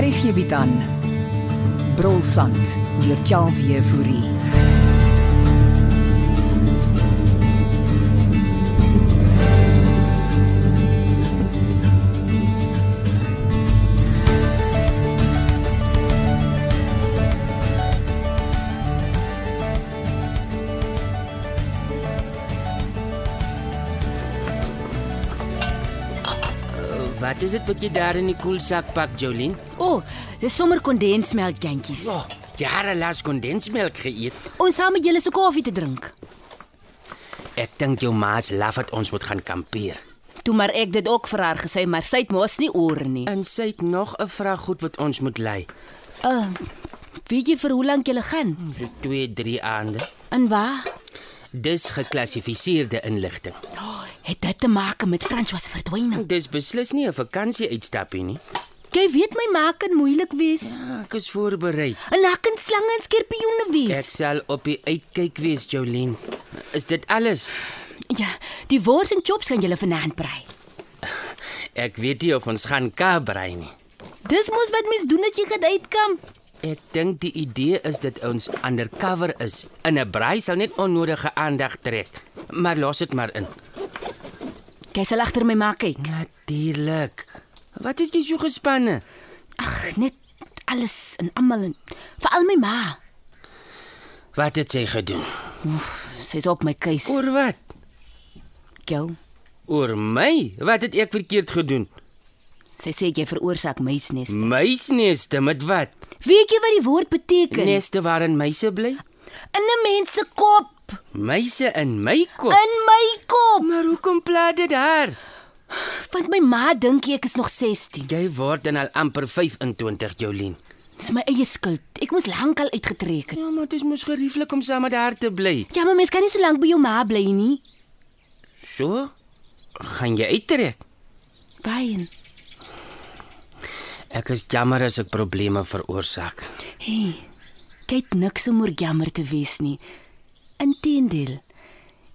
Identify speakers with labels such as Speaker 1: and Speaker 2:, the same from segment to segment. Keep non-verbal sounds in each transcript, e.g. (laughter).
Speaker 1: Hier is hierby dan. Brolsand deur Charles Euphorie.
Speaker 2: Wat is dit wat jy daar in die koelsak pak, Jolien?
Speaker 3: O, oh, dis sommer kondensmelk jantjies.
Speaker 2: Ja, oh, jare lank kondensmelk geëet.
Speaker 3: Ons saam met julle se koffie te drink.
Speaker 2: Ek dink jou ma's laf dat ons moet gaan kampeer.
Speaker 3: Toe maar ek dit ook vir haar gesê, maar sy het mos nie oor nie.
Speaker 2: En sy het nog 'n vraag goed wat ons moet lei. Ah.
Speaker 3: Uh, weet jy vir hoe lank julle gaan?
Speaker 2: Vir 2, 3 aande.
Speaker 3: En waar?
Speaker 2: Dis geklassifiseerde inligting.
Speaker 3: Oh, het dit te maak met François se verdwyning?
Speaker 2: Dis beslis nie 'n vakansie-uitstapie nie.
Speaker 3: Jy weet my maak kan moeilik wees.
Speaker 2: Ja, Ek is voorberei.
Speaker 3: En daar kan slange en skorpioene
Speaker 2: Ek
Speaker 3: wees.
Speaker 2: sal op die uitkyk wees, Jolien. Is dit alles?
Speaker 3: Ja, die wors en chops gaan julle vanaand brei.
Speaker 2: Ek weet nie of ons gaan kabrei nie.
Speaker 3: Dis mos wat mens doen as jy gaan uitkamp.
Speaker 2: Ek dink die idee is dat ons undercover is. In 'n braai sal net onnodige aandag trek. Maar los dit maar in.
Speaker 3: Jy sal agter my maak kyk.
Speaker 2: Natuurlik. Wat het jy so gespanne?
Speaker 3: Ag, net alles en almal en veral my ma.
Speaker 2: Wat het sy gedoen?
Speaker 3: Sy's op my keus.
Speaker 2: Oor wat?
Speaker 3: Jou.
Speaker 2: Oor my? Wat het ek verkeerd gedoen?
Speaker 3: Sy sê jy veroorsaak muisnes.
Speaker 2: Muisneste met wat?
Speaker 3: Weet jy wat die woord beteken?
Speaker 2: Neste waarin muise bly?
Speaker 3: In 'n mens se kop,
Speaker 2: Muise in my kop.
Speaker 3: in my kop.
Speaker 2: Maar hoekom pla dit haar?
Speaker 3: Want my ma dink ek is nog 16.
Speaker 2: Jy word dan al amper 25, Jolien.
Speaker 3: Dis my eie skuld. Ek moes lankal uitgetrek het.
Speaker 2: Ja, maar dit is mos gerieflik om saam met haar te bly.
Speaker 3: Ja, maar mens kan nie so lank by jou ma bly nie.
Speaker 2: So? Gaan jy uittrek?
Speaker 3: Baie.
Speaker 2: Ek is jammer as ek probleme veroorsaak.
Speaker 3: Hey. Kyk niks om oor jammer te wees nie. Inteendeel.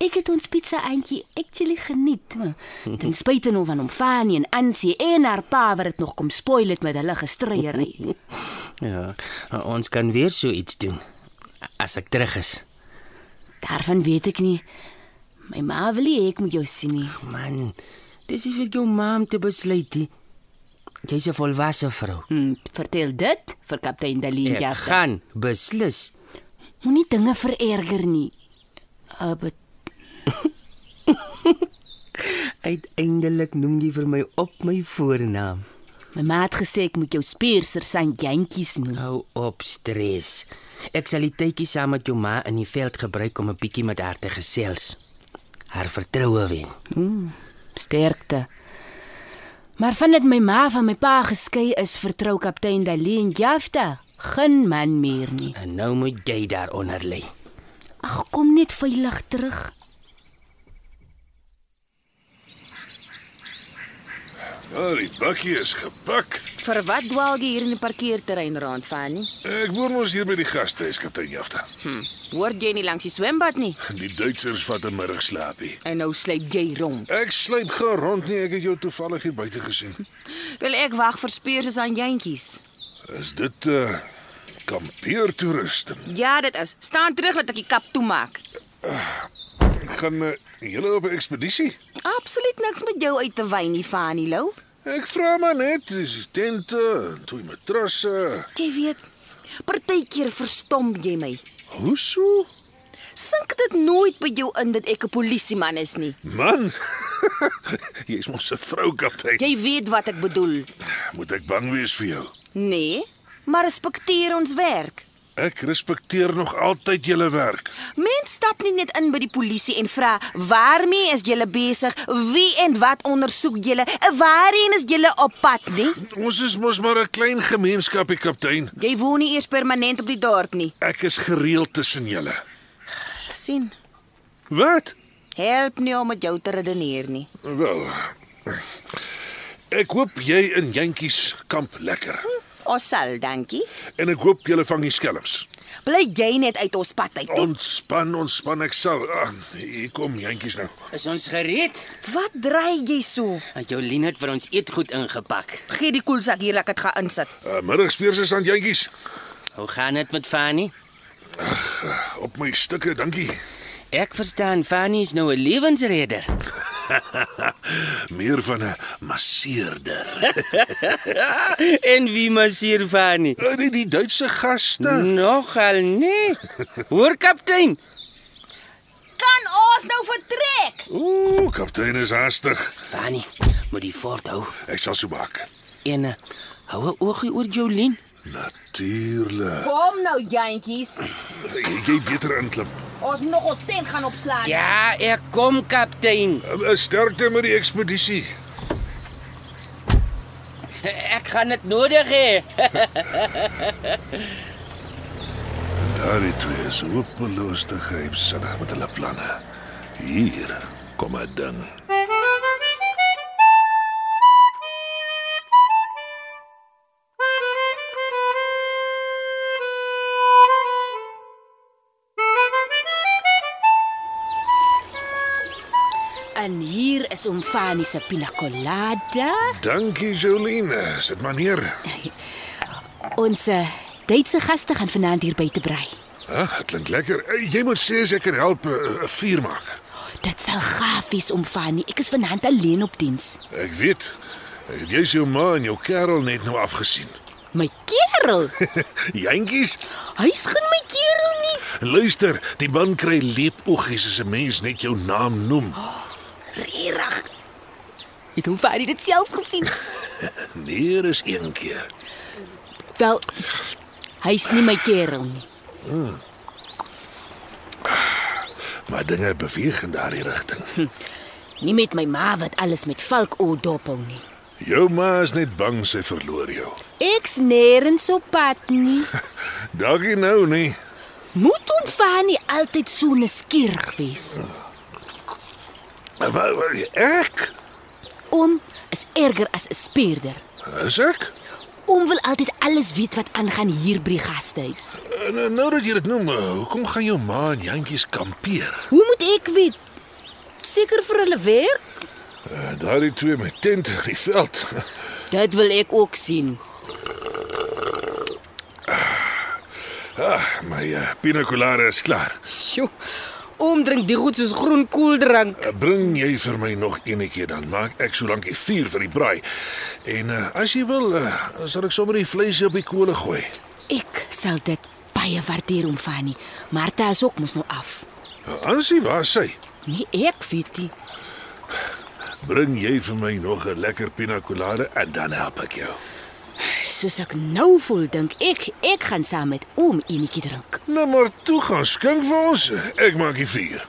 Speaker 3: Ek het ons pizza eintjie actually geniet. maar (laughs) Ten spyte nou van hom Fanny en Ansie en haar pa wat dit nog kom spoil het met hulle (laughs) gestryery.
Speaker 2: Ja, ons kan weer so iets doen as ek terug is.
Speaker 3: Daarvan weet ek nie. My ma wil nie hê ek moet jou sien nie.
Speaker 2: Man, dis nie vir jou ma om te besluit nie. Jy's 'n volwasse vrou.
Speaker 3: Hm, vertel dit vir kaptein Dalien
Speaker 2: Ek
Speaker 3: Jafta.
Speaker 2: gaan beslis.
Speaker 3: Moenie dinge vererger nie. Uh, but,
Speaker 2: Uiteindelik noem jy vir my op my voornaam.
Speaker 3: my ma het gesê ek moet jou spierser sy jantjies noem.
Speaker 2: Hou op stres. Ek sal die tydjie saam met jou ma in die veld gebruik om 'n bietjie met haar te gesels. Haar vertroue wen.
Speaker 3: Sterkte. Maar vandat my ma van my pa geskei is, vertrou kaptein Dalien Jafta geen man meer nie.
Speaker 2: En nou moet jy daaronder lê.
Speaker 3: Ag, kom net veilig terug.
Speaker 4: Ja, die bakkie is gebak.
Speaker 5: Vir wat dwaal jy hier in die parkeerterrein rond, Fanny?
Speaker 4: Ek woon ons hier by die gastehuis, kaptein Jafta.
Speaker 5: Hoor jy nie langs die swembad nie?
Speaker 4: Die Duitsers vat 'n middagslaapie.
Speaker 5: En nou sluip jy rond.
Speaker 4: Ek sluip gaan rond nie, ek het jou toevallig hier buite gesien.
Speaker 5: Wil ek wag vir speurses aan jentjies?
Speaker 4: Is dit 'n uh, kampeertoeriste?
Speaker 5: Ja, dit is. Staan terug dat ek die kap toemaak.
Speaker 4: Gaan uh, julle op 'n ekspedisie?
Speaker 5: Absoluut niks met jou uit te wy nie, Fanny Lou.
Speaker 4: Ek vra maar net, dis tente, twee matrasse.
Speaker 5: Jy weet, partykeer verstom jy my.
Speaker 4: Hoe so?
Speaker 5: Sink dit nooit by jou in dat ek 'n polisieman is nie.
Speaker 4: Man. (laughs) Jy's mos 'n vrou, kaptein.
Speaker 5: Jy weet wat ek bedoel.
Speaker 4: Moet ek bang wees vir jou?
Speaker 5: Nee, maar respekteer ons werk.
Speaker 4: Ek respekteer nog altyd julle werk.
Speaker 5: Mens stap nie net in by die polisie en vra waarmee is julle besig? Wie en wat ondersoek julle? En Waarheen is julle op pad nie?
Speaker 4: Ons is mos maar 'n klein gemeenskapie, kaptein.
Speaker 5: Jy woon nie eers permanent op die dorp nie.
Speaker 4: Ek is gereeld tussen julle.
Speaker 5: sien.
Speaker 4: Wat?
Speaker 5: Help nie om met jou te redeneer nie.
Speaker 4: Wel. Ek hoop jy in jentjies kamp lekker.
Speaker 5: Ons sal, dankie.
Speaker 4: En ek hoop julle vang nie skelms.
Speaker 5: Bly jy net uit ons pad uit. Toe.
Speaker 4: Ontspan, ontspan, ek sal. Ah, hier kom jentjies nou.
Speaker 2: Is ons gereed?
Speaker 5: Wat dry jy so?
Speaker 2: Want Jolien het vir ons eetgoed ingepak.
Speaker 5: Gee die koelsak hier, laat ek dit gaan insit.
Speaker 4: Uh, middagspeurs is aan jentjies.
Speaker 2: Hoe gaan dit met Fanny?
Speaker 4: Op my stukke, dankie.
Speaker 2: Ek verstaan Fanny is nou 'n lewensredder. (laughs)
Speaker 4: Meer van 'n masseerder.
Speaker 2: en wie masseer Fanny?
Speaker 4: Uh, die, die Duitse gaste.
Speaker 2: Hmm. Nogal nee. Hoor kaptein,
Speaker 5: Kan ons nou vertrek?
Speaker 4: Ooh, kaptein is haastig.
Speaker 2: Fanny moet die fort hou
Speaker 4: Ek sal so maak.
Speaker 2: en eh, hou 'n oogie oor Jolien.
Speaker 4: Natuurlik.
Speaker 5: Kom nou, jentjies.
Speaker 4: Jy- Jy beter inklim.
Speaker 5: Ons moet nog ons tent gaan opslaan.
Speaker 2: Ja, ek kom kaptein.
Speaker 4: Uh, sterkte met die ekspedisie.
Speaker 2: Ek gaan dit nodig hê.
Speaker 4: Daardie twee is hopeloos te geheimsinnig met hulle planne. Hier kom 'n ding.
Speaker 3: En hier is oom Fani se pina colada,
Speaker 4: Dankie Jolene, sit maar neer.
Speaker 3: ons eh, Duitse gaste gaan vanaand hier by te brei.
Speaker 4: Ag, dit klink lekker. Eh, Jy moet sê as ek kan help 'n uh, vuur maak.
Speaker 3: Dit sal gaaf wees oom Fani. Ek is vanaand alleen op diens.
Speaker 4: Ek weet. eh, Jy is jou ma en jou kerel net nou afgesien. (laughs)
Speaker 3: My kerel,
Speaker 4: Jantjies,
Speaker 3: hy's geen my kerel nie.
Speaker 4: luister, die man kry leepoggies as 'n mens net jou naam noem.
Speaker 3: Regtig. Het hom Fani dit self gesien.
Speaker 4: Meer is een keer.
Speaker 3: Wel, hy's nie my kerel nie.
Speaker 4: Maar dinge beweeg in daardie rigting.
Speaker 3: Nie met my ma wat alles met valk oordop hou nie.
Speaker 4: Jou ma is net bang sy verloor jou.
Speaker 3: Ek's nêrens op pad nie.
Speaker 4: Dankie nou nie.
Speaker 3: Moet hom Fani altyd so nuuskierig wees.
Speaker 4: Wa- wa- Ek?
Speaker 3: Oom is erger as 'n spierder.
Speaker 4: Is ek?
Speaker 3: Oom wil altyd alles weet wat aangaan hier by die gastehuis.
Speaker 4: Eh, nou- Nou dat jy dit noem, eh, hoekom gaan jou ma en jantjies kampeer?
Speaker 3: Hoe moet ek weet? Seker vir hulle werk?
Speaker 4: Eh, Daardie twee met tent in die veld. (laughs)
Speaker 3: Dit wil ek ook sien.
Speaker 4: Ah, my uh, pina colada is klaar.
Speaker 3: Sjoe. Oom drink die goed soos groen koeldrank.
Speaker 4: Eh, Bring jy vir my nog eenetjie dan maak ek solank die vuur vir die braai. En uh, as jy wil, uh, sal ek sommer die vleisie op die kole gooi.
Speaker 3: Ek sal dit baie waardeer om Fanny. Martha is ook mos nou af.
Speaker 4: Eh, Ansie, waar is sy?
Speaker 3: Nee, ek weet nie.
Speaker 4: Bring jy vir my nog 'n lekker pina colada en dan help ek jou.
Speaker 3: Soos ek nou voel, dink ek ek gaan saam met oom enetjie drink.
Speaker 4: Nou maar toe gaan skink vir ons. Ek maak die vuur.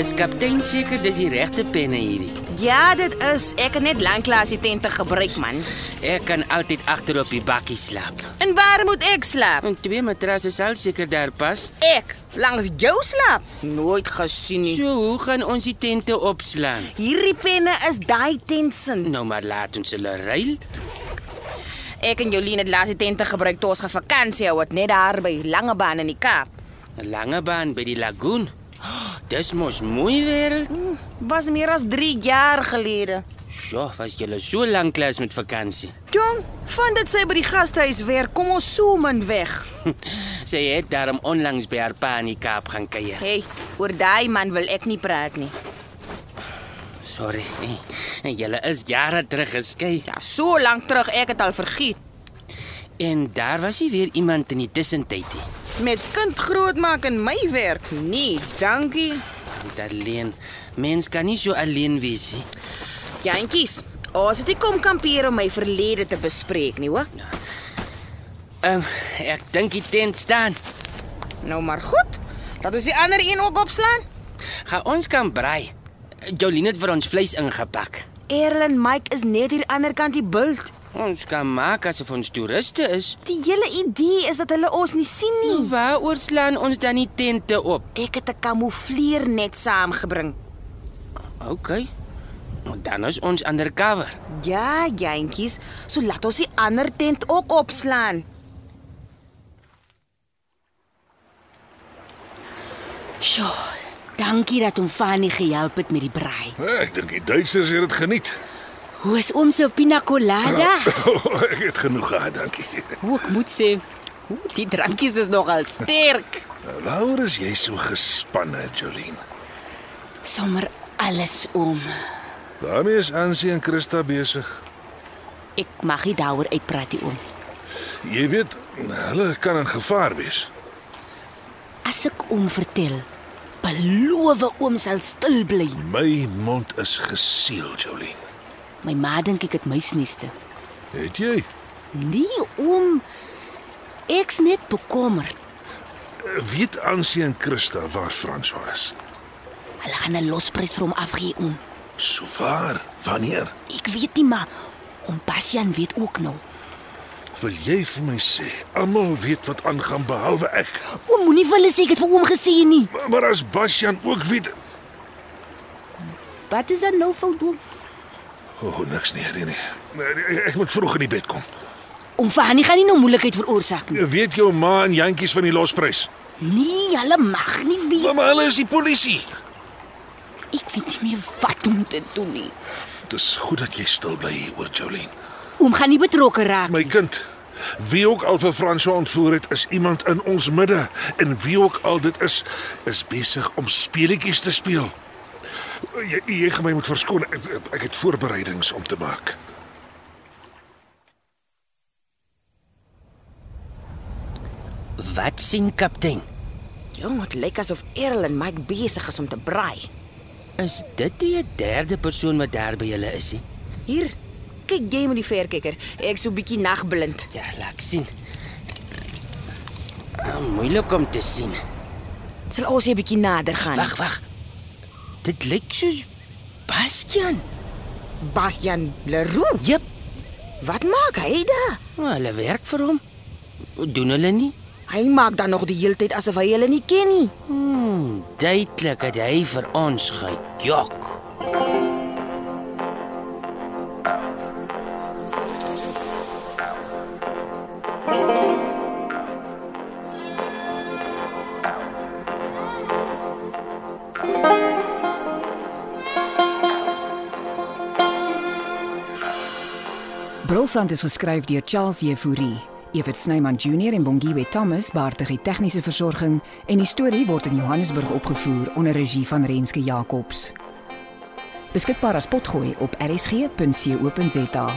Speaker 2: Is kaptein seker dis die regte penne hierdie?
Speaker 5: Ja, dit is. Ek het net lanklaas die tente gebruik, man.
Speaker 2: Ek kan altyd agter op die bakkie slaap.
Speaker 5: En waar moet ek slaap?
Speaker 2: En twee matrasse sal seker daar pas.
Speaker 5: Ek langs jou slaap. Nooit gesien nie.
Speaker 2: So hoe gaan ons die tente opslaan?
Speaker 5: Hierdie penne is daai tensin.
Speaker 2: Nou maar laat ons hulle ruil.
Speaker 5: Ek en Jolien het laas die tente gebruik toe ons gaan vakansie hou, het net daar by Langebaan in die Kaap.
Speaker 2: 'n Lange baan by die lagoon. Dis mos mooi wêreld.
Speaker 5: Was meer as 3 jaar gelede.
Speaker 2: Sjoe, was jy so lank klas met vakansie.
Speaker 5: Jong, van dit sy by die gastehuis werk, kom ons so min weg.
Speaker 2: Sy het daarom onlangs by haar pa in die Kaap gaan kuier.
Speaker 5: Hey, oor daai man wil ek nie praat nie.
Speaker 2: Sorry. nee. Julle is jare terug geskei.
Speaker 5: Ja, so lank terug ek het al vergiet.
Speaker 2: En daar was nie weer iemand in die tussentyd nie.
Speaker 5: Met kind grootmaak in my werk. Nee, dankie.
Speaker 2: Dit alleen. Mens kan nie so alleen wees nie.
Speaker 5: Jantjies, ons het nie kom kampeer om my verlede te bespreek nie, hoor?
Speaker 2: Um, ek dink die tent staan.
Speaker 5: Nou maar goed. Laat ons die ander een ook opslaan.
Speaker 2: Gaan ons kan braai. Jolien het vir ons vleis ingepak.
Speaker 5: Erlen Mike is net hier aan die ander kant die bult.
Speaker 2: Ons kan maak asof ons toeriste is.
Speaker 5: Die hele idee is dat hulle ons nie sien nie.
Speaker 2: Waaroor slaan ons dan die tente op?
Speaker 5: Ek het 'n kamoufleernet saamgebring.
Speaker 2: OK. Nou, Dan is ons undercover.
Speaker 5: Ja, jentjies, so laat ons die ander tent ook opslaan.
Speaker 3: Sjoe, dankie dat hom Fanny gehelp het met die braai.
Speaker 4: Ek dink die Duitsers het dit geniet. (laughs) Oh,
Speaker 3: Hoe is oom se pina colada?
Speaker 4: ek het genoeg gehad, dankie.
Speaker 3: Hoe ek moet sê, hoe die drankies is nogal sterk.
Speaker 4: Waarom Nou, is jy so gespanne, Jolien?
Speaker 3: Sommer alles om.
Speaker 4: Daarmee is Ansie en Christa besig.
Speaker 3: Ek mag nie daaroor uitpraat nie oom.
Speaker 4: Jy weet, hulle kan in gevaar wees.
Speaker 3: As ek oom vertel, beloof oom sal stil bly.
Speaker 4: My mond is geseël, Jolien.
Speaker 3: My ma dink ek het muisneste.
Speaker 4: Het jy?
Speaker 3: Nee oom, ek's net bekommerd.
Speaker 4: Weet Ansie en Christa waar François is?
Speaker 3: Hulle gaan 'n losprys vir hom afgee oom.
Speaker 4: So waar? Wanneer?
Speaker 3: Ek weet nie maar oom Bastian weet ook nou.
Speaker 4: Wil jy vir my sê almal weet wat aangaan behalwe ek?
Speaker 3: Oom moenie vir hulle sê ek het vir oom gesê nie.
Speaker 4: Maar, maar as Basjan ook weet,
Speaker 3: Wat is dan nou fout oom?
Speaker 4: oh, niks nie, nee nee. Nee, Ek moet vroeg in die bed kom.
Speaker 3: Oom Fanny gaan nie nou moeilikheid veroorsaak nie.
Speaker 4: Weet jou ma en jantjies van die losprys?
Speaker 3: Nee, hulle mag nie weet.
Speaker 4: Mamma, hulle is die polisie.
Speaker 3: Ek weet nie meer wat om te doen nie.
Speaker 4: Dis goed dat jy stil bly hier oor Jolene.
Speaker 3: Oom gaan nie betrokke raak.
Speaker 4: My kind, wie ook al vir François ontvoer het, is iemand in ons midde en wie ook al dit is, is besig om speletjies te speel. Jy jy gaan my moet verskoon. Ek, ek het voorbereidings om te maak.
Speaker 2: Wat sien kaptein?
Speaker 5: Jong, dit lyk asof Errol en Mike besig is om te braai.
Speaker 2: Is dit die derde persoon wat daar by julle is? He?
Speaker 5: Hier, kyk jy met die verkyker. Ek so bietjie nagblind.
Speaker 2: Ja, laat ek sien. Ah, moeilik om te sien.
Speaker 5: Sal ons hier bietjie nader gaan?
Speaker 2: Wag, wag. Dit lyk soos Bastian.
Speaker 5: Bastian Leroux.
Speaker 2: Jep,
Speaker 5: Wat maak hy daar?
Speaker 2: oh, hulle werk vir hom. Doen hulle nie?
Speaker 5: Hy maak dan nog die hele tyd asof hy hulle nie ken nie.
Speaker 2: Hmm, duidelik het hy vir ons gejok.
Speaker 1: Brolsand is geskryf deur Charles Jefouri. Evert Snyman Junior en Bongwe Thomas baartig die tegniese versorging en die storie word in Johannesburg opgevoer onder regie van Renske Jacobs. Beskikbaar as potgooi op rsg.co.za.